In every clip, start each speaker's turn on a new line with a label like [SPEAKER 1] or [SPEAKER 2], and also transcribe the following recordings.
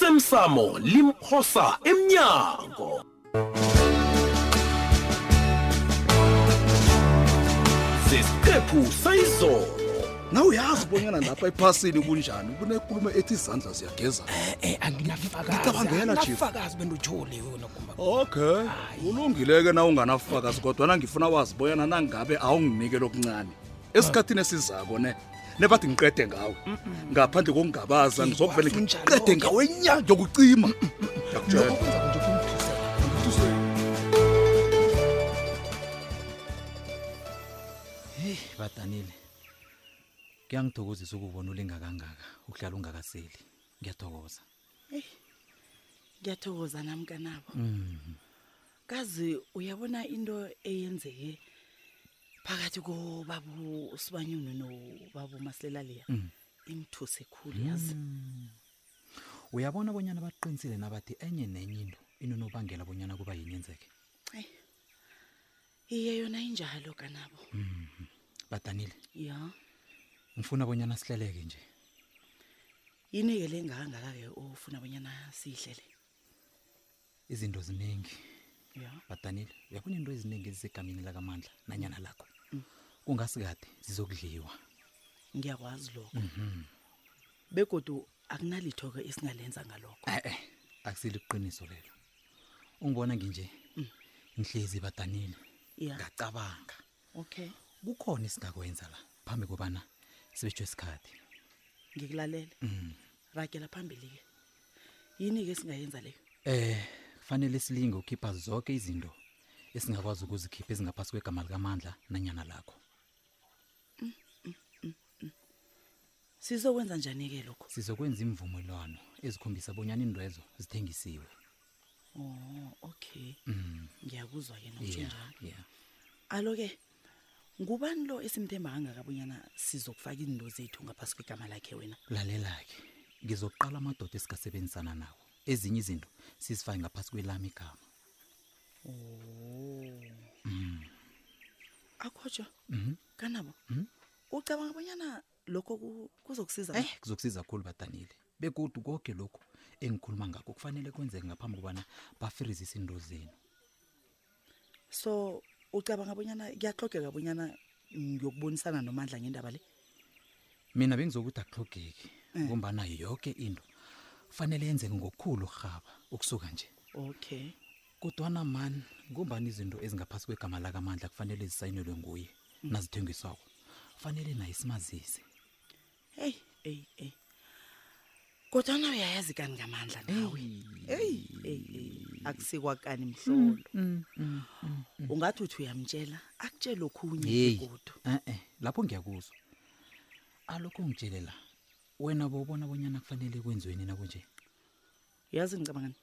[SPEAKER 1] osemsamo limphosa emnyango sesiqephu sayizolo
[SPEAKER 2] nawe uyazi bonyana lapha ephasini kunjani kunekulumo ethi izandla ziyagezana
[SPEAKER 3] Eh anginafakazi
[SPEAKER 2] Ngicabangela, Chief.
[SPEAKER 3] anginafakazi benduthole wena kumba.
[SPEAKER 2] okay ulungileke na unganafakazi kodwana ngifuna wazi bonyana nangabe awunginikeli okuncane esikhathini esizako ne nebathi ngiqede ngawe ngaphandle kokungabaza ngizokuvele
[SPEAKER 3] kwazi njalo-ke.
[SPEAKER 2] ngiqede ngawe inyanga yokucima
[SPEAKER 3] Lokho
[SPEAKER 2] ngiyakutshela
[SPEAKER 3] kwenza nje kumthusela.
[SPEAKER 4] heyi badanile kuyangithokozisa ukubona ulinga kangaka ukuhlala ungakaseli ngiyathokoza
[SPEAKER 5] ngiyathokoza nami kanabo kazi uyabona into eyenzeke phakathi kobabu usibanyuno nobabu masilela leya imthuse khulu yazi
[SPEAKER 4] uyabona bonyana baqinisile nabathi enye nenye into inonobangela bonyana kuba yini yenzeke
[SPEAKER 5] hayi iye yona injalo kanabo
[SPEAKER 4] badanile
[SPEAKER 5] ya
[SPEAKER 4] ngifuna bonyana sihleleke nje
[SPEAKER 5] yini-ke le ngakangaka-ke ofuna abanyana siyihlele
[SPEAKER 4] izinto ziningi
[SPEAKER 5] ya
[SPEAKER 4] badanile uyabona into eziningi ezisegameni lakamandla nanyana lakho kungasikade zizokudliwa
[SPEAKER 5] ngiyakwazi lokho begodu akunalitho-ke esingalenza ngalokho
[SPEAKER 4] e-e akusilo iqiniso lelo ungibona nginje ngihlezi badanile
[SPEAKER 5] ya
[SPEAKER 4] ngacabanga
[SPEAKER 5] okay
[SPEAKER 4] kukhona esingakwenza la phambi kobana sibetshwe isikhathi Mm.
[SPEAKER 5] ngikulalele ragela phambili-ke yini-ke esingayenza leyo
[SPEAKER 4] eh kufanele silinge ukhipha zonke izinto esingakwazi ukuzikhipha ezingaphasi kwegama likamandla nanyana lakho
[SPEAKER 5] sizokwenza njani-ke lokho
[SPEAKER 4] sizokwenza imvumelwano ezikhombisa bonyana indwezo zithengisiwe
[SPEAKER 5] o okay ngiyakuzwa-ke nokutsho
[SPEAKER 4] yeah
[SPEAKER 5] njalo
[SPEAKER 4] yeah
[SPEAKER 5] alo-ke ngubani lo esimthemba kangakabonyana sizokufaka izinto zethu ngaphasi kwegama lakhe wena
[SPEAKER 4] lalela-ke ngizoqala amadoda esingasebenzisana nawo ezinye izinto sizifake ngaphasi kwelami igama
[SPEAKER 5] akhotsho kanabo ucabanga bonyana lokho ku- kuzokusiza na?
[SPEAKER 4] eh kuzokusiza kakhulu badanile begodu konke lokhu engikhuluma ngakho kufanele kwenzeke ngaphambi kobana bafirizise into zenu
[SPEAKER 5] so ucabanga bonyana kuyahlogeka bonyana ngiyokubonisana nomandla ngendaba le
[SPEAKER 4] mina bengizokuthi akuhlogeki ngombana yonke into kufanele yenzeke ngokukhulu urhaba ukusuka nje
[SPEAKER 5] okay
[SPEAKER 4] kodwana mani ngombani izinto ezingaphasi kwegama lakamandla kufanele zisayinelwe nguye nazithengiswako kufanele naye simazise
[SPEAKER 5] heyi eyi eyi kodwana uyayazi kani ngamandla nawe eyi eyi eyi akusikwa kani mhlolo ungathi uthi uyamtshela akutshela okhunye
[SPEAKER 4] yeyi
[SPEAKER 5] egodu
[SPEAKER 4] e-e lapho ngiyakuzwa alokho ngitshele la wena bowubona bonyana kufanele kwenziweni nakunje
[SPEAKER 5] yazi ngicabangani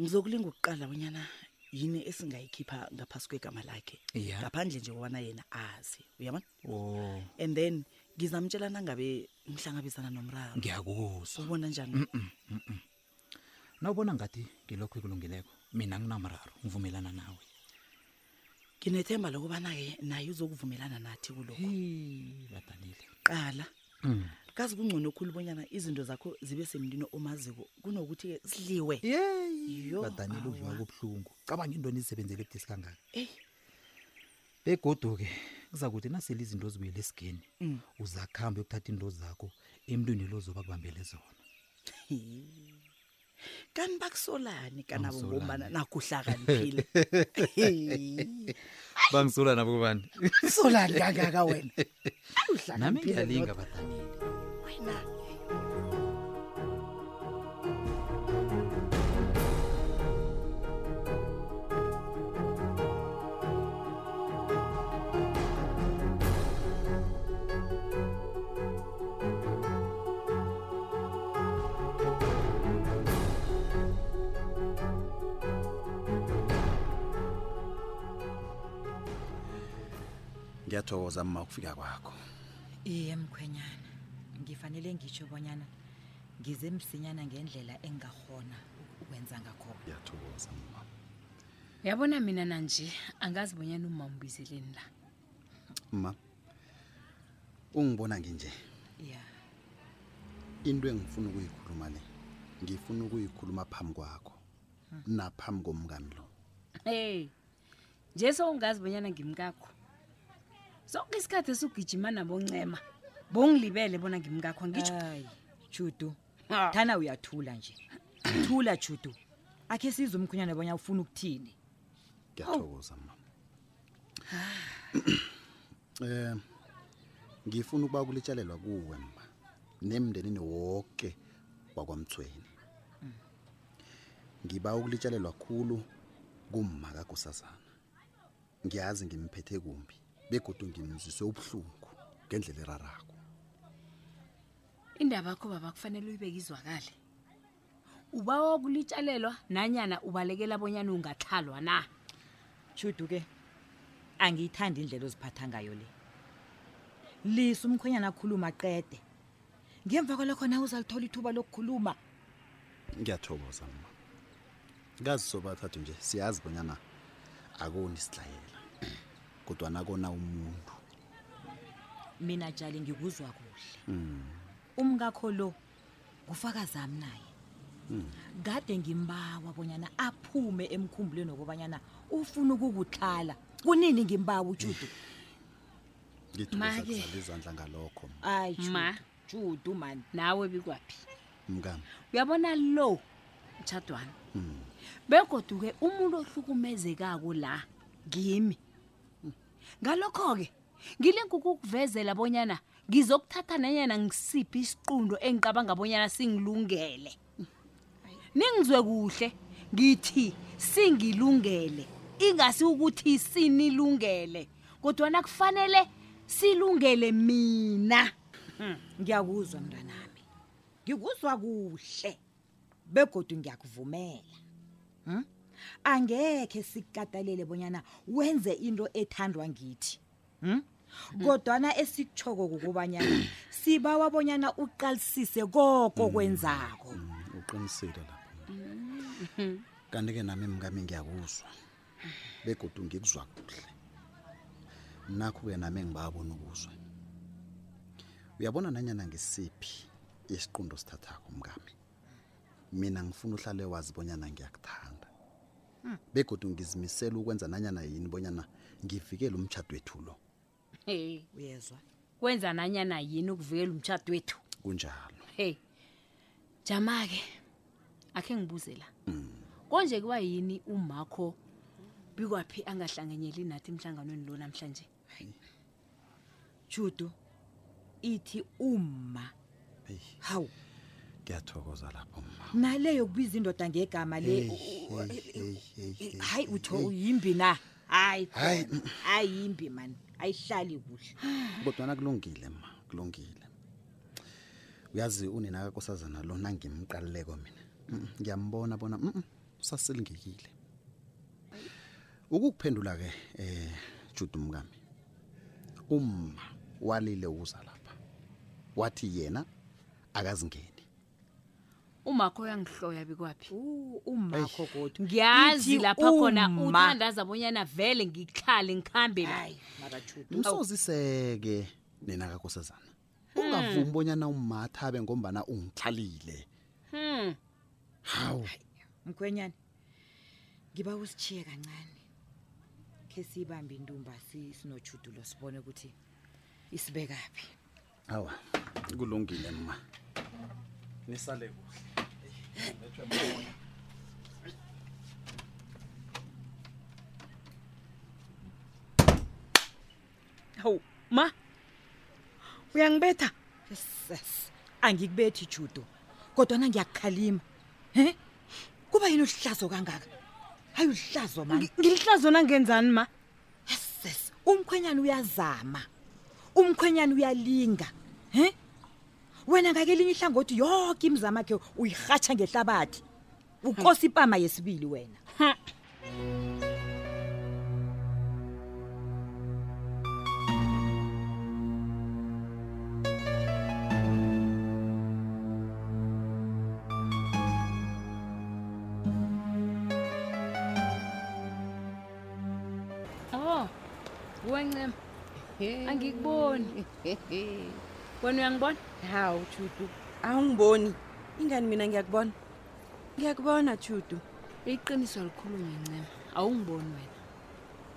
[SPEAKER 5] ngizokulinga ukuqala bonyana yini esingayikhipha ngaphasi kwegama lakhe
[SPEAKER 4] Iya.
[SPEAKER 5] ngaphandle nje kobana yena azi uyabona
[SPEAKER 4] o
[SPEAKER 5] and then ngizamtshela nangabe ngihlangabezana
[SPEAKER 4] Mm.
[SPEAKER 5] nomraro
[SPEAKER 4] ngiyakuzwa
[SPEAKER 5] ubona njani
[SPEAKER 4] nawubona ngathi ngilokho ekulungileko mina nginamraro ngivumelana nawe
[SPEAKER 5] nginethemba lokubana-ke naye uzokuvumelana nathi kulokho
[SPEAKER 4] heyi badanile
[SPEAKER 5] qala
[SPEAKER 4] Mm.
[SPEAKER 5] kazi kungcono khulu bonyana izinto zakho zibe semntwini omaziko kunokuthi-ke sidliwe
[SPEAKER 4] yeyi
[SPEAKER 5] Yo,
[SPEAKER 4] badanile udliwa
[SPEAKER 5] awa.
[SPEAKER 4] kobuhlungu cabanga into nizisebenzele ebudisi kangaka
[SPEAKER 5] eyi
[SPEAKER 4] begodu-ke kuza kuthi nasele izinto zibuyele esigeni
[SPEAKER 5] Mm.
[SPEAKER 4] uzakuhamba yokuthatha into zakho emntwini lo zoba kubambele zona
[SPEAKER 5] kani bakusolani kanabo
[SPEAKER 4] Bangisolani.
[SPEAKER 5] ngombana nakuhlakaniphile
[SPEAKER 4] bangisola nabo kubani
[SPEAKER 5] solani kangaka wena Ayi,
[SPEAKER 4] nami
[SPEAKER 5] uhlakaniphile
[SPEAKER 4] ngiyalinga badanile
[SPEAKER 5] nodwa. Wena, hey.
[SPEAKER 2] ngiyathokoza mma ukufika kwakho
[SPEAKER 6] iye mkhwenyana ngifanele ngitsho bonyana ngize msinyana ngendlela engingarhona ukwenza ngakhona
[SPEAKER 2] ngiyathokoza mma
[SPEAKER 7] uyabona mina nanje angazi bonyana umambizeleni la
[SPEAKER 2] mma ungibona nginje
[SPEAKER 6] ya
[SPEAKER 4] into engifuna ukuyikhuluma le ngifuna ukuyikhuluma phambi kwakho naphambi komkami lo
[SPEAKER 7] hey nje sowungazi bonyana ngimkakho sonke isikhathi esugijima naboncema bongilibele bona ngimkakho ngitsho
[SPEAKER 6] hayi judu thana uyathula nje thula judu akhe size umkhwenyana bonya ufuna ukuthini
[SPEAKER 4] ngiyathokoza mama um ngifuna ukuba kulitshalelwa kuwe ma nemndenini wonke wakwamthweni ngiba ukulitshalelwa khulu kumma kakusazana ngiyazi ngimphethe kumbi begodwa ngimzwise ubuhlungu ngendlela erarako
[SPEAKER 7] indaba yakho baba kufanele uyibeke izwakale ubawa ukulitshalelwa nanyana ubalekela bonyana ungathalwa na
[SPEAKER 6] judu ke angiyithandi indlela oziphatha ngayo le lisa umkhwenyana akhuluma qede ngemva kwalokho nawe uzalithola ithuba lokukhuluma
[SPEAKER 4] ngiyathokoza mama ngazi sobathathu nje siyazi bonyana akoni sidlayela kodwa nakona umuntu
[SPEAKER 6] mina jali ngikuzwa kuhle
[SPEAKER 4] Mm.
[SPEAKER 6] umkakho lo kufaka zami naye kade ngimbawa bonyana aphume emkhumbulweni wokubanyana ufuna ukukuthala kunini ngimbawa ujudu
[SPEAKER 4] ngithokoza
[SPEAKER 7] Make.
[SPEAKER 4] kuzala izandla ngalokho
[SPEAKER 6] ayi
[SPEAKER 7] Ma.
[SPEAKER 6] judu mani
[SPEAKER 7] nawe bikwaphi
[SPEAKER 4] mkami
[SPEAKER 7] uyabona lo mtshadwana begoduke umuntu ohlukumezekako la ngimi Hmm. ngalokho-ke ngilengukukuvezela bonyana ngizokuthatha nanyana ngisiphi isiqundo engicabanga bonyana singilungele ningizwe kuhle ngithi singilungele ingasi ukuthi sinilungele kodwana kufanele silungele mina
[SPEAKER 6] Hmm, ngiyakuzwa mntanami ngikuzwa kuhle begodu ngiyakuvumela hm? angekhe sikukatalele bonyana wenze into ethandwa ngithi hm? kodwana esikutshoko kukubanyana sibawa bonyana uqalisise koko kwenzako
[SPEAKER 4] uqinisile lapho kanti-ke nami mkami ngiyakuzwa begodu ngikuzwa kuhle nakho-ke nami engibabona ukuzwa uyabona nanyana ngisiphi isiqundo sithathako mkami mina ngifuna uhlale wazi bonyana ngiyakuthanda begodu ngizimisela ukwenza nanyana yini bonyana ngivikele umtshado wethu lo
[SPEAKER 7] hey.
[SPEAKER 6] uyezwa
[SPEAKER 7] kwenza nanyana yini ukuvikela umtshado wethu
[SPEAKER 4] kunjalo
[SPEAKER 7] hey jama-ke akhe ngibuze la
[SPEAKER 6] Mm.
[SPEAKER 7] konje kuba yini umakho bikwaphi angahlanganyeli nathi emhlanganweni lo namhlanje
[SPEAKER 6] judu ithi umma
[SPEAKER 4] Eyi.
[SPEAKER 6] hawu
[SPEAKER 4] ngiyathokoza lapho mma
[SPEAKER 6] nale yokubiza indoda ngegama le hayi utho yimbi na hayi khona. hayi yimbi mani ayihlali kuhle
[SPEAKER 4] kodwana kulungile ma kulungile uyazi uninakakosazana lona ngimqaluleko mina Mm, mm, ngiyambona bona mm, mm, usasilingekile ukukuphendula-ke um judu mkami umma walile uza lapha wathi yena akazingeni
[SPEAKER 7] umakho uyangihloya bikwaphi
[SPEAKER 6] U- umakho kodwa
[SPEAKER 7] ngiyazi
[SPEAKER 6] Ithi
[SPEAKER 7] lapha khona
[SPEAKER 6] uma.
[SPEAKER 7] uthandaza bonyana vele ngikhale ngikhambe la
[SPEAKER 6] hayi makajudu
[SPEAKER 4] msoziseke ninakakosazana ungavumi bonyana ummatha abe ngombana ungihlalile
[SPEAKER 7] hmm.
[SPEAKER 4] hawu
[SPEAKER 6] mkhwenyana ngiba usitshiye kancane khe siyibambe intumba si- sinojudulo sibone ukuthi isibekaphi
[SPEAKER 4] hawa kulungile mma nisale kuhle
[SPEAKER 7] hawu ma uyangibetha
[SPEAKER 6] Yes. angikubethi judo kodwana ngiyakukhalima he kuba yini uhlazo kangaka hayi uhlazo mani
[SPEAKER 7] ngilihlazona ngenzani ma
[SPEAKER 6] yes umkhwenyana uyazama umkhwenyana uyalinga he wena ngakelinye ihlangothi yonke imizamo yakhe uyirhatsha ngehlabathi ukosi ipama yesibili wena
[SPEAKER 7] oh uwancema angikuboni wena uyangibona
[SPEAKER 8] hawu judu
[SPEAKER 9] awungiboni ingani mina ngiyakubona ngiyakubona chudu
[SPEAKER 7] iqiniso likhulunywa ncema awungiboni wena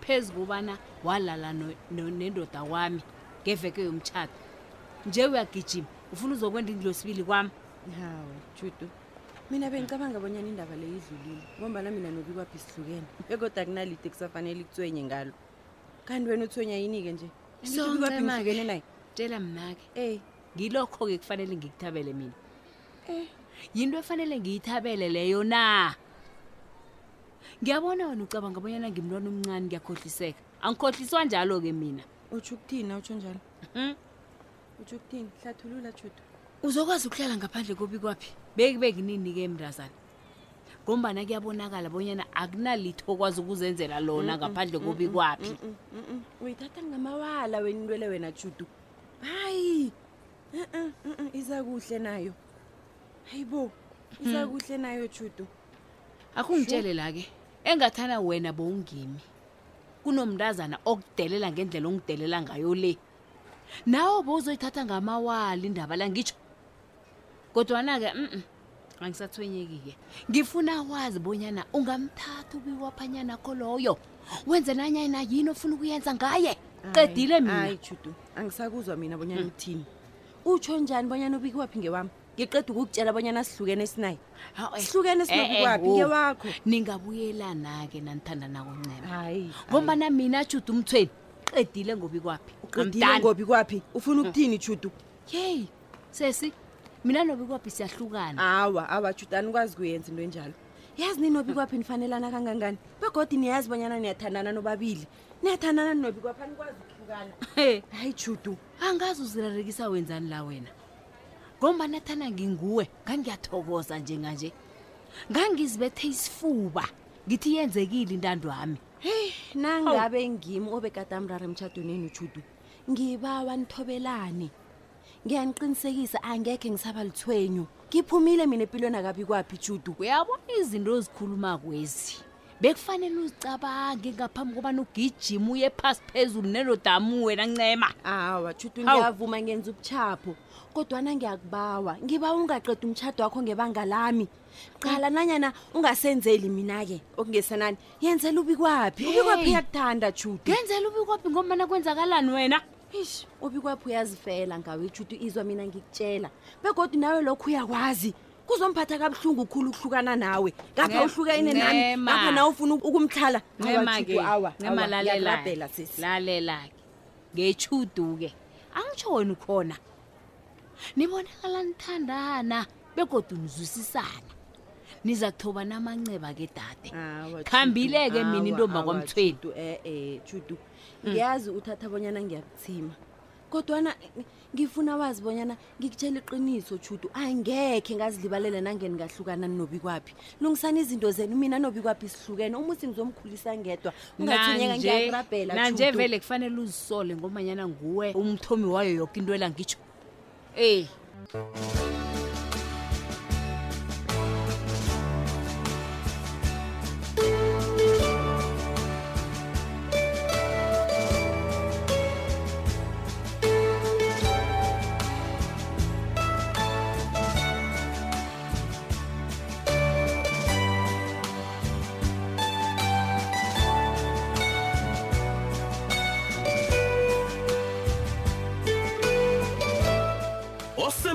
[SPEAKER 7] phezu kobana walala no- no- nendoda kwami ngeveke yomtshato nje uyagijima ufuna uzokwenda indlosibili kwami
[SPEAKER 9] hawe chudu mina bengicabanga bonyana indaba le idlulile ngombana mina nobikwaphi sihlukene bekodwa kunalide kusafanele kuthwenye ngalo kanti wena uthwenya yini-ke nje Angithi
[SPEAKER 7] So,
[SPEAKER 9] uBikwaphi
[SPEAKER 7] Ncema-ke.
[SPEAKER 9] ngihlukene naye
[SPEAKER 7] tshela mna-ke
[SPEAKER 9] eyi
[SPEAKER 7] ngilokho-ke kufanele ngikuthabele mina yinto efanele ngiyithabele leyo na ngiyabona wena ucabanga abonyana ngimntwana omncane ngiyakhohliseka angikhohliswa njalo-ke mina
[SPEAKER 9] utsho ukuthini utsho njalo
[SPEAKER 7] Mhm.
[SPEAKER 9] utsho ukuthini hlathulula chudu
[SPEAKER 7] uzokwazi ukuhlala ngaphandle kobi kwaphi beki bekinini-ke mndazana ngombana kuyabonakala bonyana akunalitho okwazi ukuzenzela lona ngaphandle kobi kwaphi
[SPEAKER 9] Mm, mm, mm. uyithatha ngamawala wena intwele wena judu hayi Eh, eh, mm, mm, iza kuhle nayo hayi bo iza
[SPEAKER 7] Mm-hmm.
[SPEAKER 9] kuhle nayo judu
[SPEAKER 7] akungitshele la-ke engathana wena bowungimi kunomntazana okudelela ngendlela ongidelela ngayo le nawe bowuzoyithatha ngamawala indaba la ngitsho kodwana-ke mm angisathwenyeki-ke ngifuna wazi bonyana ungamthatha ubiwaphanyana kho loyo wenze nanyana yini ofuna ukuyenza ngaye qedile mina Mm.
[SPEAKER 9] hayi judu angisakuzwa mina bonyana uthini utsho njani bonyana ubikwaphi ngewami ngiqeda ukukutshela bonyana sihlukene sinaye
[SPEAKER 7] Hawu, eh.
[SPEAKER 9] sihlukene
[SPEAKER 7] Eh, eh,
[SPEAKER 9] sinobikwaphi
[SPEAKER 7] wo.
[SPEAKER 9] ngewakho
[SPEAKER 7] ningabuyelana-ke nanithanda nako ncema
[SPEAKER 9] hayi
[SPEAKER 7] ngombana mina juda umthweni qedile ngobi kwaphi
[SPEAKER 9] uqedile ngobi kwaphi
[SPEAKER 7] Mm.
[SPEAKER 9] ufuna ukuthini judu
[SPEAKER 7] yeyi sesi mina nobi kwaphi siyahlukana
[SPEAKER 9] awa awa judu anikwazi kuyenza into enjalo yazi ninobikwaphi nifanelana kangangani begodi niyazi bonyana niyathandana nobabili niyathandana ninobikwaphi anikwazi ukuhlukana
[SPEAKER 7] He,
[SPEAKER 9] hayi judu
[SPEAKER 7] angazi uzirerekisa wenzani la wena ngombana thana nginguwe ngangiyathokoza njenganje ngangizibethe isifuba ngithi yenzekile intando yami
[SPEAKER 9] heyi nangabe ngimi obekadamrara emtshadoneni ujudu ngibawa nithobelane ngiyaniqinisekisa angekhe ngisaba lithwenyo ngiphumile mina empilweni akabi kwaphi judu
[SPEAKER 7] uyabona izinto ozikhuluma kwezi bekufanele uzicabange ngaphambi kobana ugijima uye phasi phezulu nenodamu wena ncema
[SPEAKER 9] awa judu
[SPEAKER 7] Hawu.
[SPEAKER 9] ngiyavuma ngenza ubuchapho kodwana ngiyakubawa ngiba ungaqeda umtshado wakho ngebanga lami qala nanyana ungasenzeli mina-ke okungesenani yenzela ubi kwaphi ubi kwaphi
[SPEAKER 7] Hey.
[SPEAKER 9] uyakuthanda judu
[SPEAKER 7] ngenzela ubikwaphi ngombana kwenzakalani wena
[SPEAKER 9] ish ubikwaphi uyazifela ngawe ijudu izwa mina ngikutshela begodwa nawe lokhu uyakwazi kuzomphatha kabuhlungu khulu ukuhlukana nawe ngapha
[SPEAKER 7] Ne-
[SPEAKER 9] uhlukane nami
[SPEAKER 7] Nema.
[SPEAKER 9] ngapha nawe ufuna ukumtlhala
[SPEAKER 7] ncema-ke ncema
[SPEAKER 9] lalabhela sesi
[SPEAKER 7] lalela-ke ngechudu-ke angitsho wena ukhona nibonakala nithandana begodwa nizwisisana niza kuthoba namanceba-ke dade
[SPEAKER 9] Awa,
[SPEAKER 7] Khambile-ke
[SPEAKER 9] Judu.
[SPEAKER 7] mina
[SPEAKER 9] Awa,
[SPEAKER 7] intombi Mm.
[SPEAKER 9] awa,
[SPEAKER 7] kwaMthweni.
[SPEAKER 9] Judu, eh eh Judu ngiyazi uthatha bonyana ngiyakuthima kodwana eh, ngifuna wazi bonyana ngikutshela iqiniso Judu angekhe ngazilibalela nangeni ngahlukana nobi kwaphi lungisana izinto zenu mina nobi kwaphi sihlukene umusi ngizomkhulisa ngedwa ungathunyeka
[SPEAKER 7] Nanje-
[SPEAKER 9] ngiyakurabhela
[SPEAKER 7] nanje
[SPEAKER 9] Judu.
[SPEAKER 7] vele kufanele uzisole ngomanyana nguwe umthomi wayo yoke into ela ngitsho ey